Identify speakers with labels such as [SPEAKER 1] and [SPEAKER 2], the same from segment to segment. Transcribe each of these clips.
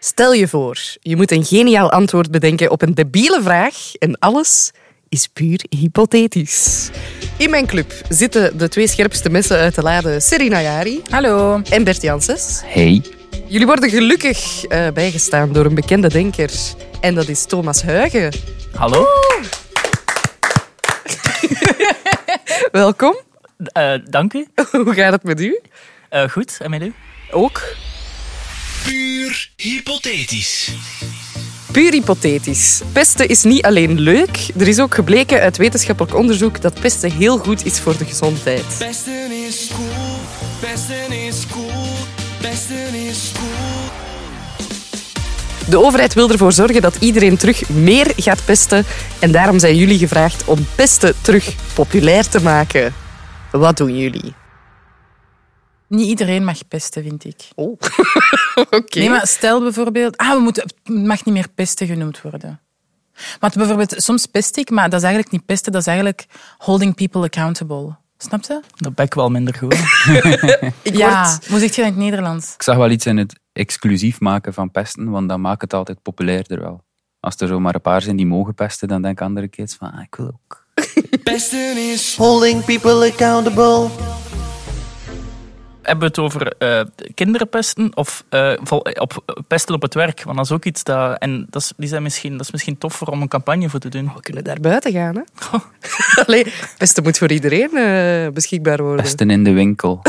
[SPEAKER 1] Stel je voor, je moet een geniaal antwoord bedenken op een debiele vraag en alles is puur hypothetisch. In mijn club zitten de twee scherpste messen uit de lade Serena Jari
[SPEAKER 2] Hallo.
[SPEAKER 1] en Bert Janssens.
[SPEAKER 3] Hey.
[SPEAKER 1] Jullie worden gelukkig eh, bijgestaan door een bekende denker en dat is Thomas Huigen.
[SPEAKER 3] Hallo?
[SPEAKER 1] Welkom.
[SPEAKER 3] Eh, dank u.
[SPEAKER 1] Hoe gaat het met u?
[SPEAKER 3] Eh, goed, en met u?
[SPEAKER 1] Ook
[SPEAKER 4] Puur hypothetisch.
[SPEAKER 1] Puur hypothetisch. Pesten is niet alleen leuk, er is ook gebleken uit wetenschappelijk onderzoek dat pesten heel goed is voor de gezondheid.
[SPEAKER 4] Pesten is cool, pesten is cool, pesten is cool.
[SPEAKER 1] De overheid wil ervoor zorgen dat iedereen terug meer gaat pesten en daarom zijn jullie gevraagd om pesten terug populair te maken. Wat doen jullie?
[SPEAKER 2] Niet iedereen mag pesten, vind ik.
[SPEAKER 1] Oh. Oké.
[SPEAKER 2] Nee, maar stel bijvoorbeeld... Ah, we moeten, het mag niet meer pesten genoemd worden. Want bijvoorbeeld, soms pest ik, maar dat is eigenlijk niet pesten, dat is eigenlijk holding people accountable. Snap je?
[SPEAKER 3] Dat ben ik wel minder goed. in.
[SPEAKER 1] ik
[SPEAKER 2] Ja.
[SPEAKER 1] word...
[SPEAKER 2] Hoe zeg je dat in het Nederlands?
[SPEAKER 5] Ik zag wel iets in het exclusief maken van pesten, want dan maakt het altijd populairder wel. Als er zomaar een paar zijn die mogen pesten, dan denken andere kids van, ah, ik wil ook.
[SPEAKER 4] Pesten is
[SPEAKER 6] Holding people accountable.
[SPEAKER 3] Hebben we het over eh, kinderen pesten of eh, vol- op, pesten op het werk? Want dat is ook iets dat... En dat is, die zijn misschien, dat is misschien toffer om een campagne voor te doen.
[SPEAKER 1] We kunnen daar buiten gaan, hè?
[SPEAKER 2] Oh.
[SPEAKER 1] Allee, pesten moet voor iedereen eh, beschikbaar worden.
[SPEAKER 5] Pesten in de winkel.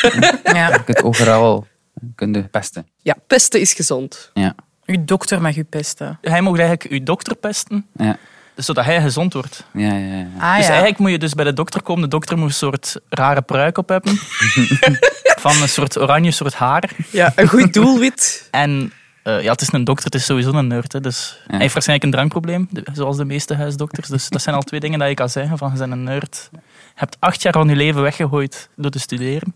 [SPEAKER 5] Je
[SPEAKER 2] Ja.
[SPEAKER 5] kunt overal kun je pesten.
[SPEAKER 1] Ja, pesten is gezond.
[SPEAKER 5] Ja.
[SPEAKER 2] Uw dokter mag u pesten.
[SPEAKER 3] Hij mag eigenlijk uw dokter pesten,
[SPEAKER 5] Ja.
[SPEAKER 3] dus zodat hij gezond wordt.
[SPEAKER 5] Ja, ja, ja.
[SPEAKER 2] Ah
[SPEAKER 3] dus
[SPEAKER 2] ja.
[SPEAKER 3] eigenlijk moet je dus bij de dokter komen. De dokter moet een soort rare pruik op hebben. van een soort oranje soort haar.
[SPEAKER 1] Ja, een goed doelwit.
[SPEAKER 3] En eh, ja, het is een dokter, het is sowieso een nerd. Hè, dus Hij heeft waarschijnlijk een drankprobleem, de- zoals de meeste huisdokters. Dus dat zijn al twee dingen dat je kan zeggen van, je bent een nerd. Je hebt acht jaar van je leven weggegooid door te studeren.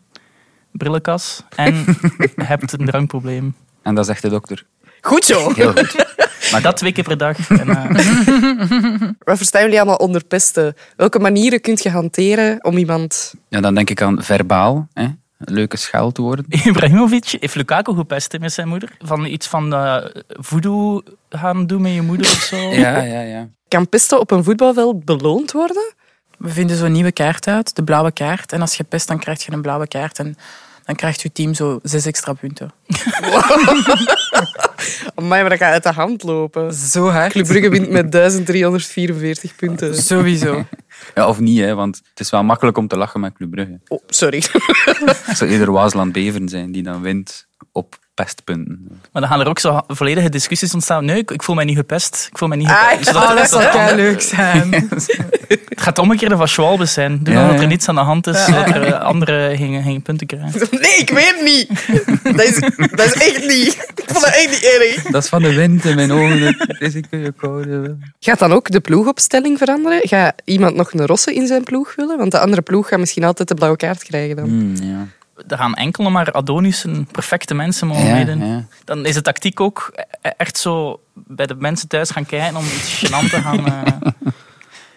[SPEAKER 3] Brillenkas. En je hebt een drankprobleem.
[SPEAKER 5] En dat zegt de dokter.
[SPEAKER 1] Goed zo.
[SPEAKER 5] Heel goed.
[SPEAKER 3] Maar dat twee keer per dag. En, eh,
[SPEAKER 1] Wat verstaan jullie allemaal onder pesten? Welke manieren kunt je hanteren om iemand...
[SPEAKER 5] Ja, dan denk ik aan verbaal, hè. leuke scheldwoorden.
[SPEAKER 3] Ibrahimovic heeft Lukaku gepest hè, met zijn moeder. Van iets van eh, voodoo gaan doen met je moeder of zo.
[SPEAKER 5] Ja, ja, ja.
[SPEAKER 1] Kan pesten op een voetbalveld beloond worden?
[SPEAKER 2] We vinden zo'n nieuwe kaart uit, de blauwe kaart. En als je pest, dan krijg je een blauwe kaart. En dan krijgt uw team zo zes extra punten.
[SPEAKER 1] Amai, maar dat gaat uit de hand lopen.
[SPEAKER 2] Zo hard.
[SPEAKER 1] Club Brugge wint met 1344 punten.
[SPEAKER 2] Sowieso.
[SPEAKER 5] Ja, of niet, hè, want het is wel makkelijk om te lachen met Club Brugge.
[SPEAKER 1] Oh, sorry.
[SPEAKER 5] Het zou eerder Waasland-Beveren zijn die dan wint op pestpunten.
[SPEAKER 3] Maar dan gaan er ook zo volledige discussies ontstaan. Nee, ik, ik voel mij niet gepest. Ik voel mij niet
[SPEAKER 1] Ah,
[SPEAKER 3] gepest. Zodat
[SPEAKER 2] Oh,
[SPEAKER 3] er-
[SPEAKER 2] dat zou
[SPEAKER 3] zodat er-
[SPEAKER 2] kei leuk zijn.
[SPEAKER 3] het gaat omgekeerd van Schwalbes zijn. Doe
[SPEAKER 5] Ja,
[SPEAKER 3] dan dat
[SPEAKER 5] ja.
[SPEAKER 3] er niets aan de hand is, zodat er eh, anderen gingen, gingen punten krijgen.
[SPEAKER 1] Nee, ik weet niet. Dat is, dat is echt niet. Ik vond dat echt niet erg.
[SPEAKER 5] Dat is van de wind in mijn ogen. Het is een keer koude.
[SPEAKER 1] Gaat dan ook de ploegopstelling veranderen? Gaat iemand nog een rosse in zijn ploeg willen? Want de andere ploeg gaat misschien altijd de blauwe kaart krijgen dan.
[SPEAKER 5] Hmm, ja.
[SPEAKER 3] Er gaan enkele maar Adonissen, perfecte mensen mogen
[SPEAKER 5] Ja,
[SPEAKER 3] meedoen.
[SPEAKER 5] ja.
[SPEAKER 3] Dan is de tactiek ook e- echt zo bij de mensen thuis gaan kijken om iets gênant te gaan... eh,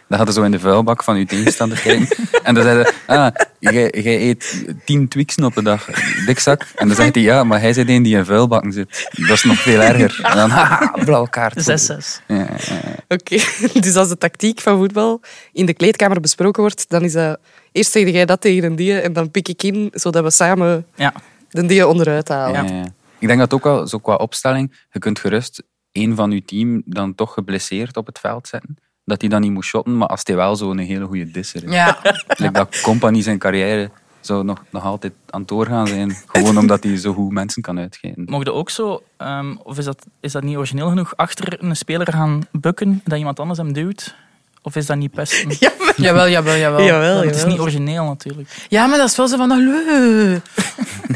[SPEAKER 5] Dan gaat hij zo in de vuilbak van uw tegenstander kijken. En dan zei hij, ah, jij, jij eet tien Twixen op een dag, dikzak. En dan zegt hij, ja, maar hij zit een die in vuilbakken zit. Dat is nog veel erger. En dan, haha, blauwe kaart.
[SPEAKER 3] 6-6.
[SPEAKER 5] Ja, ja, ja.
[SPEAKER 1] Oké, dus als de tactiek van voetbal in de kleedkamer besproken wordt, dan is dat... Eerst zeg jij dat tegen een die en dan pik ik in, zodat we samen
[SPEAKER 3] Ja.
[SPEAKER 1] de die onderuit halen.
[SPEAKER 5] Ja, ja. Ik denk dat ook wel, zo qua opstelling, je kunt gerust één van je team dan toch geblesseerd op het veld zetten. Dat hij dan niet moet shotten, maar als hij wel zo'n hele goede disser is.
[SPEAKER 2] Ja.
[SPEAKER 5] Like dat Company zijn carrière zou nog, nog altijd aan het doorgaan zijn. Gewoon omdat hij zo goed mensen kan uitgeven.
[SPEAKER 3] Mogen we ook zo, ehm, of is dat, is dat niet origineel genoeg, achter een speler gaan bukken dat iemand anders hem duwt? Of is dat niet pesten?
[SPEAKER 1] Ja, maar-
[SPEAKER 2] Jawel, jawel, jawel.
[SPEAKER 1] Jawel,
[SPEAKER 3] Het is
[SPEAKER 1] jawel.
[SPEAKER 3] niet origineel natuurlijk.
[SPEAKER 2] Ja, maar dat is wel zo van, hallo,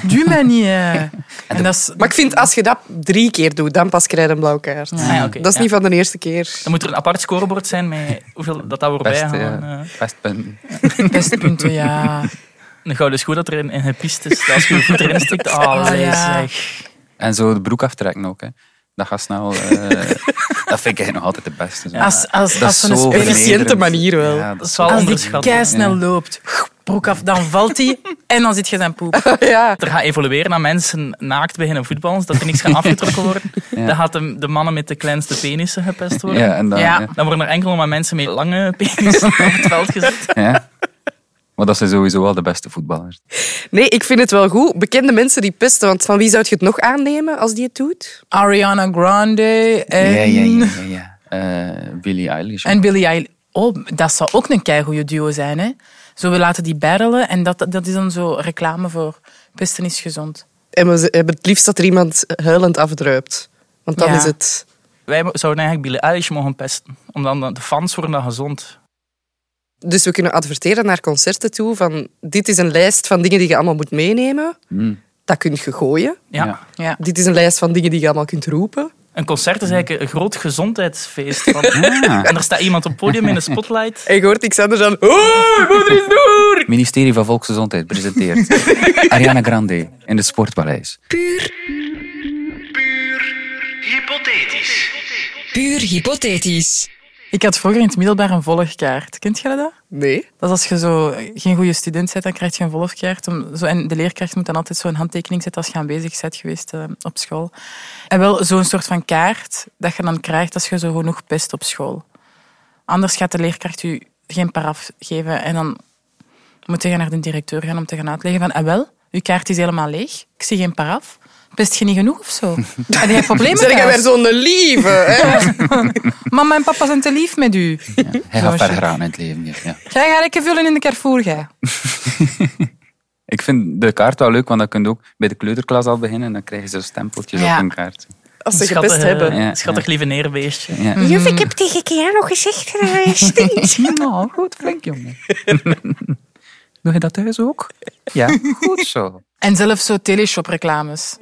[SPEAKER 2] duw mij niet. hè. En dat is,
[SPEAKER 1] Maar ik vind, als je dat drie keer doet, dan pas krijg je een blauwe kaart.
[SPEAKER 3] Ah ja, oké,
[SPEAKER 1] dat is
[SPEAKER 3] ja.
[SPEAKER 1] niet van de eerste keer.
[SPEAKER 3] Dan moet er een apart scorebord zijn met hoeveel dat dat wordt
[SPEAKER 5] Best,
[SPEAKER 3] bijgehouden.
[SPEAKER 5] ja.
[SPEAKER 3] eh.
[SPEAKER 5] Pestpunten.
[SPEAKER 2] pestpunten, ja.
[SPEAKER 3] Een gouden schoen dat erin in gepist is. Dat Als je je voet erin stikt,
[SPEAKER 5] Oh,
[SPEAKER 3] ah,
[SPEAKER 2] Ah,
[SPEAKER 3] allee,
[SPEAKER 2] ja.
[SPEAKER 3] zeg.
[SPEAKER 5] En zo de broek aftrekken ook. Hè. Dat gaat snel. eh, dat vind ik eigenlijk nog altijd het beste. Zo.
[SPEAKER 2] Als, als,
[SPEAKER 5] dat
[SPEAKER 2] als
[SPEAKER 5] is
[SPEAKER 2] zo'n
[SPEAKER 5] zo
[SPEAKER 2] speler...
[SPEAKER 1] efficiënte
[SPEAKER 5] vernederend.
[SPEAKER 1] manier wel.
[SPEAKER 5] Ja,
[SPEAKER 3] Dat
[SPEAKER 5] dat
[SPEAKER 3] is
[SPEAKER 5] is
[SPEAKER 3] wel
[SPEAKER 2] Als die
[SPEAKER 3] onderschat.
[SPEAKER 2] kei snel loopt. broek af, dan valt hij en dan zit je zijn poep.
[SPEAKER 1] Ja.
[SPEAKER 3] er gaat evolueren naar mensen naakt beginnen voetballen, dat er niks gaat afgetrokken worden. Dan gaat de, de mannen met de kleinste penissen gepest worden.
[SPEAKER 5] Ja, en dan,
[SPEAKER 2] Ja.
[SPEAKER 5] ja.
[SPEAKER 3] Dan worden er enkel maar mensen met lange penissen op het veld gezet.
[SPEAKER 5] Ja. Maar dat zijn sowieso wel de beste voetballers.
[SPEAKER 1] Nee, ik vind het wel goed. Bekende mensen die pesten, want van wie zou je het nog aannemen als die het doet?
[SPEAKER 2] Ariana Grande en,
[SPEAKER 5] ja. Eh, Billie Eilish.
[SPEAKER 2] en Billie Eilish. Oh, dat zou ook een keigoede duo zijn, hè? Zo, we laten die barrelen en dat, dat is dan zo reclame voor pesten is gezond.
[SPEAKER 1] En we hebben het liefst dat er iemand huilend afdruipt. Want dan
[SPEAKER 2] Ja.
[SPEAKER 1] is het...
[SPEAKER 3] Wij mo- zouden eigenlijk Billie Eilish mogen pesten. Omdat dan de fans worden dan gezond.
[SPEAKER 1] Dus we kunnen adverteren naar concerten toe van dit is een lijst van dingen die je allemaal moet meenemen.
[SPEAKER 5] Hmm.
[SPEAKER 1] Dat kun je gooien.
[SPEAKER 3] Ja.
[SPEAKER 5] Ja.
[SPEAKER 2] Ja.
[SPEAKER 1] Dit is een lijst van dingen die je allemaal kunt roepen.
[SPEAKER 3] Een concert is eigenlijk een groot gezondheidsfeest. Van, En er staat iemand op het podium in een spotlight.
[SPEAKER 1] En je hoort Xander dan... Hoi, moeder is door!
[SPEAKER 5] Ministerie van Volksgezondheid presenteert Ariana Grande in het Sportpaleis.
[SPEAKER 7] Puur hypothetisch.
[SPEAKER 2] Ik had vroeger in het middelbaar een volgkaart. Kent jij dat?
[SPEAKER 1] Nee.
[SPEAKER 2] Dat is als je zo geen goede student bent, dan krijg je een volgkaart. Om, zo, en de leerkracht moet dan altijd zo'n handtekening zetten als je aanwezig bent geweest eh, op school. En wel zo'n soort van kaart dat je dan krijgt als je zo genoeg pest op school. Anders gaat de leerkracht u geen paraf geven en dan moet je naar de directeur gaan om te gaan uitleggen van ah wel, uw kaart is helemaal leeg, ik zie geen paraf. Pest je niet genoeg of zo? Heb jij problemen
[SPEAKER 1] Zeg jij
[SPEAKER 2] thuis?
[SPEAKER 1] weer zo'n lieve? Hè?
[SPEAKER 2] Mama en papa zijn te lief met u.
[SPEAKER 5] Hij
[SPEAKER 2] Zo
[SPEAKER 5] gaat
[SPEAKER 2] chic.
[SPEAKER 5] ver gaan in het leven. Ja. Ja.
[SPEAKER 2] Jij gaat lekker vullen in de Carrefour, jij.
[SPEAKER 5] Ik vind de kaart wel leuk, want dan kun je ook bij de kleuterklas al beginnen en dan krijg je zo'n stempeltjes
[SPEAKER 2] Ja.
[SPEAKER 5] op een kaart.
[SPEAKER 1] Als ze
[SPEAKER 3] Schattig,
[SPEAKER 1] gepest
[SPEAKER 3] eh,
[SPEAKER 1] hebben.
[SPEAKER 5] Ja,
[SPEAKER 3] Schattig lieve neerbeestje.
[SPEAKER 5] Ja.
[SPEAKER 8] Juf, ik heb tegen Keanu gezegd dat hij stinkt.
[SPEAKER 5] Nou, goed, flink jongen. Doe je dat thuis ook? Ja, goed zo.
[SPEAKER 2] En zelfs zo teleshop-reclames.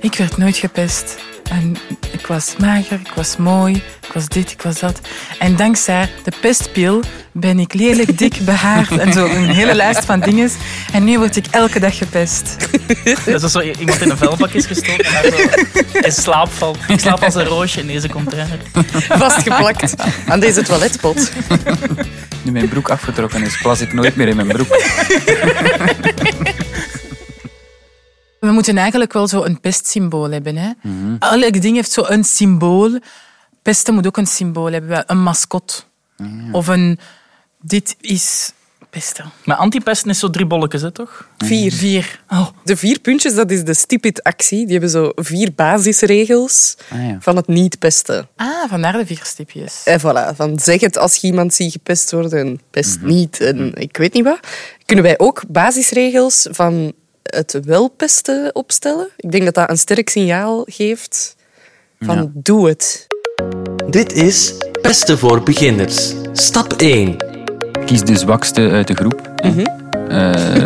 [SPEAKER 2] Ik werd nooit gepest. En ik was mager, ik was mooi, ik was dit, ik was dat. En dankzij de pestpil ben ik lelijk dik behaard en zo een hele lijst van dingen. En nu word ik elke dag gepest.
[SPEAKER 3] Dus als zo i- iemand in een vuilbak is gestoken en daar zo in slaap valt. Ik slaap als een roosje in deze container.
[SPEAKER 1] Vastgeplakt aan deze toiletpot.
[SPEAKER 5] Nu mijn broek afgetrokken is, plas ik nooit meer in mijn broek.
[SPEAKER 2] We moeten eigenlijk wel zo een pestsymbool hebben. Hè? Elk ding heeft zo een symbool. Pesten moet ook een symbool hebben. Wel, Een mascot. Of een... Dit is pesten.
[SPEAKER 3] Maar antipesten is zo drie bolletjes, hè, toch?
[SPEAKER 1] Vier. Oh.
[SPEAKER 2] Vier.
[SPEAKER 1] De vier puntjes, dat is de Stipit-actie. Die hebben zo vier basisregels
[SPEAKER 5] Ah, ja.
[SPEAKER 1] van het niet pesten.
[SPEAKER 2] Ah, vandaar de vier stipjes.
[SPEAKER 1] En Eh, voilà, van zeg het als je iemand ziet gepest worden en pest niet en ik weet niet wat. Kunnen wij ook basisregels van het wel pesten opstellen? Ik denk dat dat een sterk signaal geeft van doe het.
[SPEAKER 9] Dit is Pesten voor Beginners. Stap 1.
[SPEAKER 5] Kies de zwakste uit de groep. hè.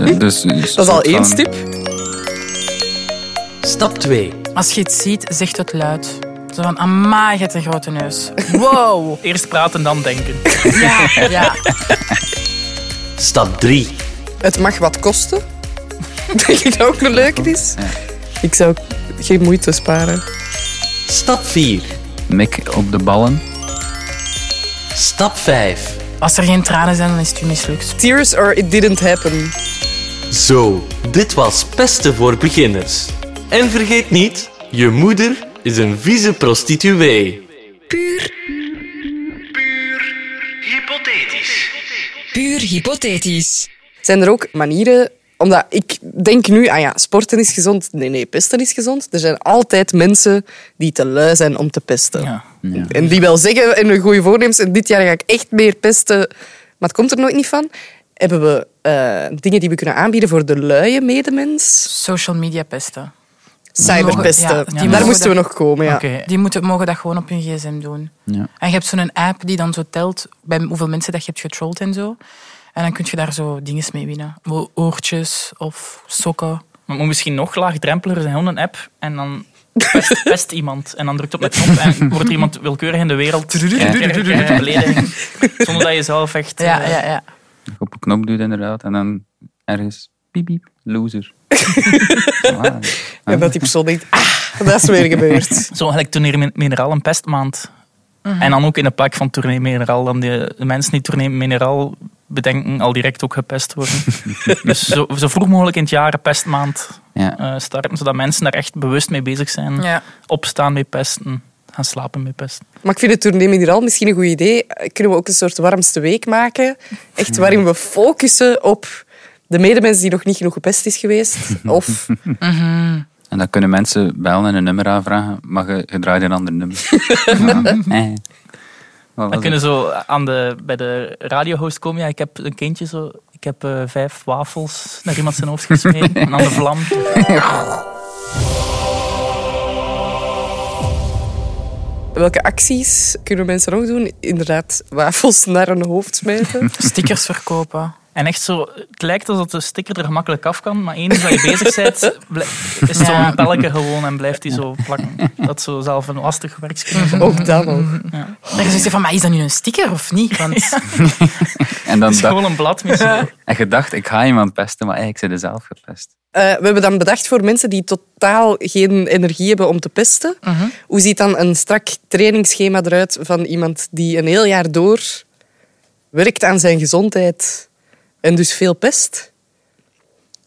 [SPEAKER 5] Eh, dus,
[SPEAKER 1] Dat is al één stip.
[SPEAKER 9] Stap 2.
[SPEAKER 2] Als je iets ziet, zeg het luid. Zo van, amai, je hebt een grote neus. Wow.
[SPEAKER 3] Eerst praten, dan denken.
[SPEAKER 2] Ja, ja.
[SPEAKER 9] Stap 3.
[SPEAKER 1] Het mag wat kosten. Denk ik dat ook een leuk is. Ik zou geen moeite sparen.
[SPEAKER 9] Stap 4.
[SPEAKER 5] Mik op de ballen.
[SPEAKER 9] Stap 5.
[SPEAKER 2] Als er geen tranen zijn, dan is het u mislukt.
[SPEAKER 1] Tears or it didn't happen.
[SPEAKER 9] Zo, dit was Pesten voor Beginners. En vergeet niet, je moeder is een vieze prostituee.
[SPEAKER 7] Puur hypothetisch.
[SPEAKER 1] Zijn er ook manieren... Omdat ik denk nu, ah ja, sporten is gezond. Nee, nee, pesten is gezond. Er zijn altijd mensen die te lui zijn om te pesten.
[SPEAKER 3] Ja.
[SPEAKER 1] En die wel zeggen in hun goede voornemens, en dit jaar ga ik echt meer pesten, maar het komt er nooit niet van. Hebben we eh, dingen die we kunnen aanbieden voor de luie medemens?
[SPEAKER 2] Social media pesten.
[SPEAKER 1] Cyberpesten.
[SPEAKER 2] Ja, die
[SPEAKER 1] Daar
[SPEAKER 2] mogen
[SPEAKER 1] moesten we
[SPEAKER 2] dat-
[SPEAKER 1] nog komen, ja.
[SPEAKER 3] Oké.
[SPEAKER 2] Die moeten, mogen dat gewoon op hun gsm doen.
[SPEAKER 5] Ja.
[SPEAKER 2] En je hebt zo'n app die dan zo telt bij hoeveel mensen dat je hebt getrolled en zo. En dan kun je daar zo dingen mee winnen. Wo- Oortjes of sokken.
[SPEAKER 3] Maar het moet misschien nog laagdrempeliger zijn. Gewoon een app en dan pest, pest iemand. En dan drukt op de knop en wordt er iemand willekeurig in de wereld. Ja. Belediging. Zonder dat je zelf echt... eh,
[SPEAKER 2] Ja, ja, ja.
[SPEAKER 5] Op een knop duwt inderdaad. En dan ergens piep, piep, loser. Voilà.
[SPEAKER 1] En dat die persoon denkt, ah, dat is weer gebeurd.
[SPEAKER 3] Zo eigenlijk Tournee Min- Mineral, een pestmaand. En dan ook in de pak van Tournee Mineral. Dan de, de mensen die Tournee Mineral bedenken al direct ook gepest worden. dus zo, zo vroeg mogelijk in het jaar een pestmaand
[SPEAKER 5] Ja.
[SPEAKER 3] eh, starten, zodat mensen daar echt bewust mee bezig zijn.
[SPEAKER 2] Ja.
[SPEAKER 3] Opstaan met pesten, gaan slapen met pesten.
[SPEAKER 1] Maar ik vind het tournee mineraal misschien een goed idee. Eh, Kunnen we ook een soort warmste week maken? Echt waarin we focussen op de medemens die nog niet genoeg gepest is geweest. Of
[SPEAKER 5] En dan kunnen mensen bellen en een nummer aanvragen, maar je, je draait een ander nummer. ja. Eh.
[SPEAKER 3] Dan kunnen zo aan de, bij de radiohost komen. Ja, ik heb een kindje zo. Ik heb eh, vijf wafels naar iemand zijn hoofd gesmeed. en aan de vlam.
[SPEAKER 1] welke acties kunnen mensen nog doen? Inderdaad, wafels naar hun hoofd smijten.
[SPEAKER 2] Stickers verkopen.
[SPEAKER 3] En echt zo, het lijkt alsof de sticker er gemakkelijk af kan. Maar eens dat je bezig bent, blij- is het
[SPEAKER 2] Ja.
[SPEAKER 3] zo'n pelletje gewoon en blijft die zo plakken. Dat is zo zelf een lastig werkje.
[SPEAKER 1] Ook dat nog.
[SPEAKER 2] Dan zeg je van, maar is dat nu een sticker of niet? Want
[SPEAKER 5] En dan
[SPEAKER 3] Het is
[SPEAKER 2] Mhm.
[SPEAKER 5] dacht,
[SPEAKER 3] gewoon een blad met zo.
[SPEAKER 5] en je dacht, ik ga iemand pesten, maar eigenlijk zijn ze zelf gepest.
[SPEAKER 1] Eh, we hebben dan bedacht voor mensen die totaal geen energie hebben om te pesten. Hoe ziet dan een strak trainingsschema eruit van iemand die een heel jaar door werkt aan zijn gezondheid en dus veel pest?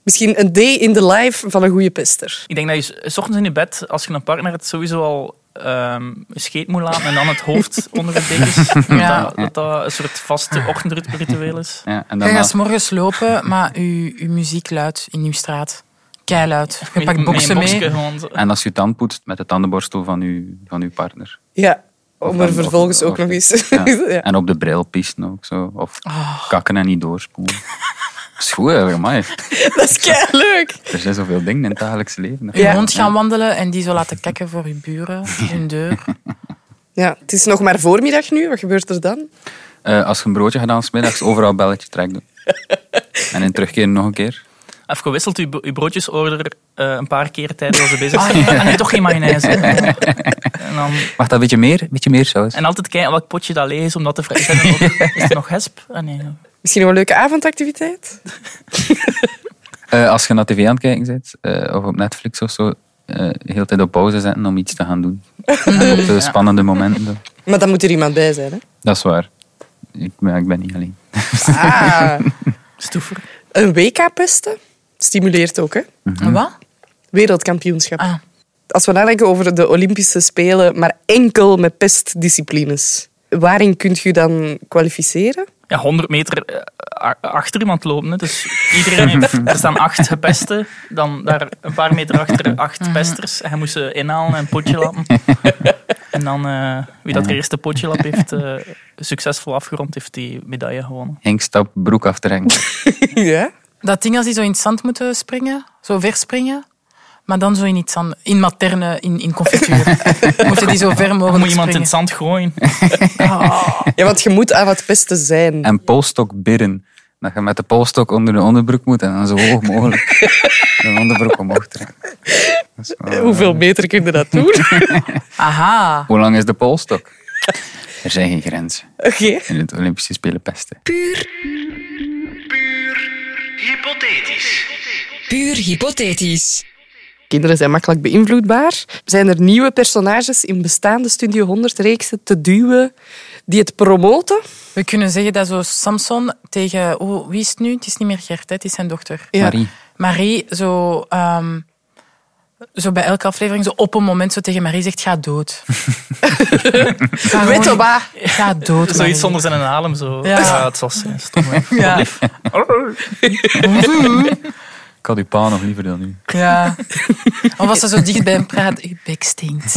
[SPEAKER 1] Misschien een day in the life van een goede pester.
[SPEAKER 3] Ik denk dat je s- s ochtends in je bed, als je een partner hebt, sowieso al ehm scheet moet laten en dan het hoofd onder het dekens.
[SPEAKER 2] Ja.
[SPEAKER 3] Dat, dat dat een soort vaste ochtendritueel is.
[SPEAKER 5] Ja, en
[SPEAKER 2] je
[SPEAKER 5] dan
[SPEAKER 2] gaat 's morgens lopen, maar je, je muziek luidt in uw straat. Keiluid. Je
[SPEAKER 3] Met-
[SPEAKER 2] pakt boksen
[SPEAKER 3] met een
[SPEAKER 2] mee.
[SPEAKER 3] boksje gewoon.
[SPEAKER 5] en als je tand poetst met de tandenborstel van je, van je partner.
[SPEAKER 1] Ja,
[SPEAKER 5] Of
[SPEAKER 1] om
[SPEAKER 5] dan-
[SPEAKER 1] er vervolgens
[SPEAKER 5] of-
[SPEAKER 1] ook
[SPEAKER 5] of-
[SPEAKER 1] nog eens...
[SPEAKER 5] Ja.
[SPEAKER 1] Ja. Oh.
[SPEAKER 5] En op de bril pissen ook zo. Of kakken en niet doorspoelen. Dat is goed, hè, amai.
[SPEAKER 1] Dat is kei leuk.
[SPEAKER 5] Er zijn zoveel dingen in het dagelijks leven.
[SPEAKER 2] Je hond gaan wandelen en die zo laten kijken voor je buren, hun deur.
[SPEAKER 1] Ja, het is nog maar voormiddag nu. Wat gebeurt er dan?
[SPEAKER 5] Eh, als je een broodje gedaan hebt, 's middags overal belletje trek doen. En in terugkeren nog een keer.
[SPEAKER 3] Of gewisseld je, bo- je broodjesorder eh, een paar keer tijdens ze bezig zijn. Ah, nee, toch geen mayonaise. en, dan,
[SPEAKER 5] Mag dat een beetje meer? Een beetje meer saus.
[SPEAKER 3] en altijd kijken welk potje dat leeg is om dat te vragen. Is er nog- Is er nog hesp? Ah, nee.
[SPEAKER 1] Misschien nog een leuke avondactiviteit?
[SPEAKER 5] Eh, als je naar tv aan het kijken bent, eh, of op Netflix of zo, eh heel de tijd op pauze zetten om iets te gaan doen. op de spannende momenten. doen.
[SPEAKER 1] Maar dan moet er iemand bij zijn, hè?
[SPEAKER 5] Dat is waar. Ik, ben- ik ben niet alleen.
[SPEAKER 1] Ah,
[SPEAKER 3] Stoever.
[SPEAKER 1] een WK pesten stimuleert ook, hè?
[SPEAKER 3] Mhm.
[SPEAKER 2] Wat?
[SPEAKER 1] Wereldkampioenschap.
[SPEAKER 2] Ah.
[SPEAKER 1] Als we nadenken over de Olympische Spelen, maar enkel met pestdisciplines. Waarin kunt u dan kwalificeren?
[SPEAKER 3] Ja, 100 meter eh, a- achter iemand lopen. Hè. Dus iedereen heeft, er staan acht gepesten. Dan daar een paar meter achter
[SPEAKER 2] Mhm.
[SPEAKER 3] acht pesters. En hij moest ze inhalen en een potje lappen. En dan, eh, wie dat er eerste potje lap heeft eh, succesvol afgerond, heeft die medaille gewonnen.
[SPEAKER 5] Henk stap broek aftrekken.
[SPEAKER 1] ja.
[SPEAKER 2] Dat ding als die zo in het zand moeten springen, zo ver springen, maar dan zo in iets zand, in materne, in, in confituur. Moeten die zo ver
[SPEAKER 3] Dan
[SPEAKER 2] mogelijk
[SPEAKER 3] moet iemand in het
[SPEAKER 2] springen.
[SPEAKER 3] zand gooien.
[SPEAKER 1] ja, want je moet aan wat pesten zijn.
[SPEAKER 5] En polstok bidden. Dat je met de polstok onder de onderbroek moet en dan zo hoog mogelijk de onderbroek omhoog trekken. Dat is wel-
[SPEAKER 1] Hoeveel meter kun je dat doen? Oké.
[SPEAKER 2] Aha.
[SPEAKER 5] Hoe lang is de polstok? Er zijn geen grenzen in het Olympische Spelen pesten.
[SPEAKER 7] Puur hypothetisch.
[SPEAKER 1] Kinderen zijn makkelijk beïnvloedbaar. Zijn er nieuwe personages in bestaande Studio 100-reeksen te duwen die het promoten?
[SPEAKER 2] We kunnen zeggen dat zo Samson tegen... Oh, wie is het nu? Het is niet meer Gert, hè, het is zijn dochter.
[SPEAKER 1] Ja.
[SPEAKER 5] Marie,
[SPEAKER 2] Marie zo, ehm, zo bij elke aflevering zo op een moment zo tegen Marie zegt, ga dood. Ga
[SPEAKER 1] Weet je
[SPEAKER 2] gewoon-
[SPEAKER 1] wat?
[SPEAKER 2] Ga dood, Marie.
[SPEAKER 3] Zoiets zonder zijn adem. Zo.
[SPEAKER 2] Ja.
[SPEAKER 3] Ja. het zal zijn. Stom, hè.
[SPEAKER 2] Ja.
[SPEAKER 5] ik had uw pa nog liever dan u.
[SPEAKER 2] ja. Of als ze zo dicht bij hem praat, je bek stinkt.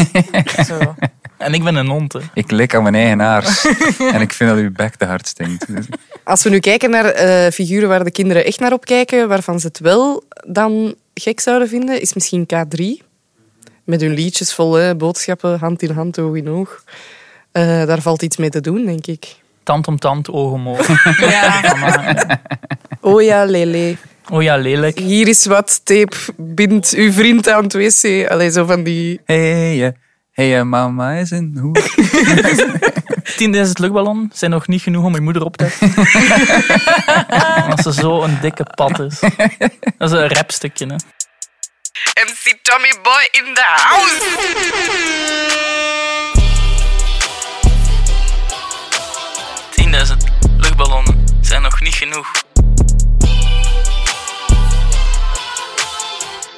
[SPEAKER 2] Zo.
[SPEAKER 3] En ik ben een hond. Hè.
[SPEAKER 5] Ik lik aan mijn eigen haars en ik vind dat uw bek te hard stinkt. Dus
[SPEAKER 1] Als we nu kijken naar eh, figuren waar de kinderen echt naar opkijken, waarvan ze het wel dan gek zouden vinden, is misschien K3. Met hun liedjes vol hè, boodschappen, hand in hand, oog in oog. Eh, daar valt iets mee te doen, denk ik.
[SPEAKER 3] Tand om tand, oog om oog.
[SPEAKER 2] Ja.
[SPEAKER 3] Mama,
[SPEAKER 1] Oh ja, lele.
[SPEAKER 3] Oh ja, lelijk.
[SPEAKER 1] Hier is wat tape, bind uw vriend aan het wc. Allee, zo van die...
[SPEAKER 5] Hey, eh, hey, eh, mama is een hoer.
[SPEAKER 3] 10.000 luchtballon zijn nog niet genoeg om je moeder op te hebben. Als ze zo een dikke pad is. Dat is een rapstukje. Hè.
[SPEAKER 1] MC Tommy Boy in the house!
[SPEAKER 3] zijn nog niet genoeg.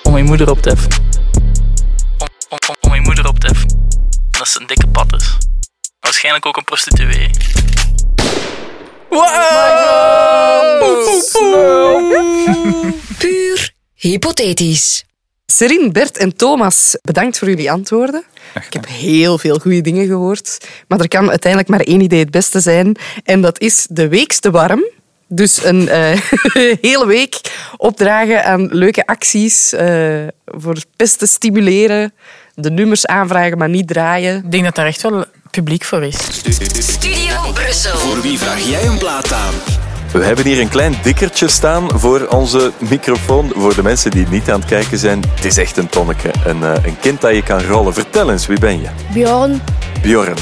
[SPEAKER 3] Om mijn moeder op te heffen. Om, om, om, om mijn moeder op te heffen. Dat ze een dikke pad dus. is. Waarschijnlijk ook een prostituee.
[SPEAKER 7] Puur hypothetisch.
[SPEAKER 1] Serin, Bert en Thomas, bedankt voor jullie antwoorden. Ik heb heel veel goede dingen gehoord. Maar er kan uiteindelijk maar één idee het beste zijn. En dat is de week te warm. Dus een eh, hele week opdragen aan leuke acties eh, voor pesten stimuleren. De nummers aanvragen, maar niet draaien.
[SPEAKER 2] Ik denk dat daar echt wel publiek voor is.
[SPEAKER 7] Studio Brussel.
[SPEAKER 10] Voor wie vraag jij een plaat aan?
[SPEAKER 11] We hebben hier een klein dikkertje staan voor onze microfoon. Voor de mensen die niet aan het kijken zijn, het is echt een tonneke. Een, eh, een kind dat je kan rollen. Vertel eens, wie ben je?
[SPEAKER 12] Bjorn,
[SPEAKER 11] Bjorn.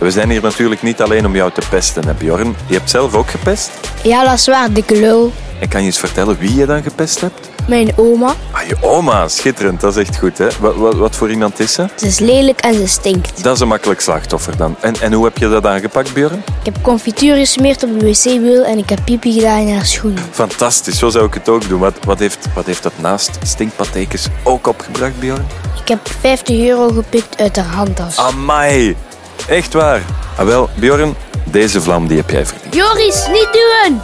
[SPEAKER 11] We zijn hier natuurlijk niet alleen om jou te pesten, hè Bjorn. Je hebt zelf ook gepest.
[SPEAKER 12] ja dat is waar, dikke lul.
[SPEAKER 11] En kan je eens vertellen wie je dan gepest hebt?
[SPEAKER 12] Mijn oma,
[SPEAKER 11] Ah, je oma, schitterend. Dat is echt goed, hè? Wat, wat, wat voor iemand is ze?
[SPEAKER 12] ze is lelijk en ze stinkt.
[SPEAKER 11] Dat is een makkelijk slachtoffer dan. En, en hoe heb je dat aangepakt, Bjorn?
[SPEAKER 12] Ik heb confituur gesmeerd op de wc-wiel en ik heb pipi gedaan in haar schoenen.
[SPEAKER 11] Fantastisch, zo zou ik het ook doen. Wat, wat, heeft, wat heeft dat naast stinkpatekens ook opgebracht, Bjorn?
[SPEAKER 12] Ik heb 50 euro gepikt uit haar handtas.
[SPEAKER 11] Ah. Amai, echt waar. Ah, wel, Bjorn, deze vlam die heb jij verdiend.
[SPEAKER 12] Joris, niet doen!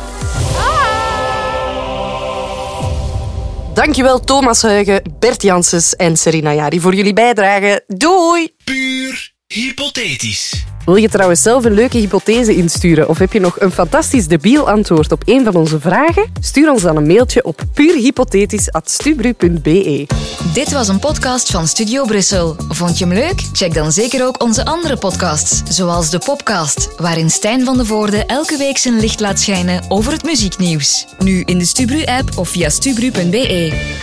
[SPEAKER 1] Dankjewel Thomas Huigen, Bert Janssens en Serena Jari voor jullie bijdrage. Doei!
[SPEAKER 4] Puur hypothetisch.
[SPEAKER 1] Wil je trouwens zelf een leuke hypothese insturen of heb je nog een fantastisch debiel antwoord op een van onze vragen? Stuur ons dan een mailtje op puurhypothetisch.stubru.be.
[SPEAKER 7] Dit was een podcast van Studio Brussel. Vond je hem leuk? Check dan zeker ook onze andere podcasts, zoals de Popcast, waarin Stijn van de Voorde elke week zijn licht laat schijnen over het muzieknieuws. Nu in de Stubru-app of via stubru.be.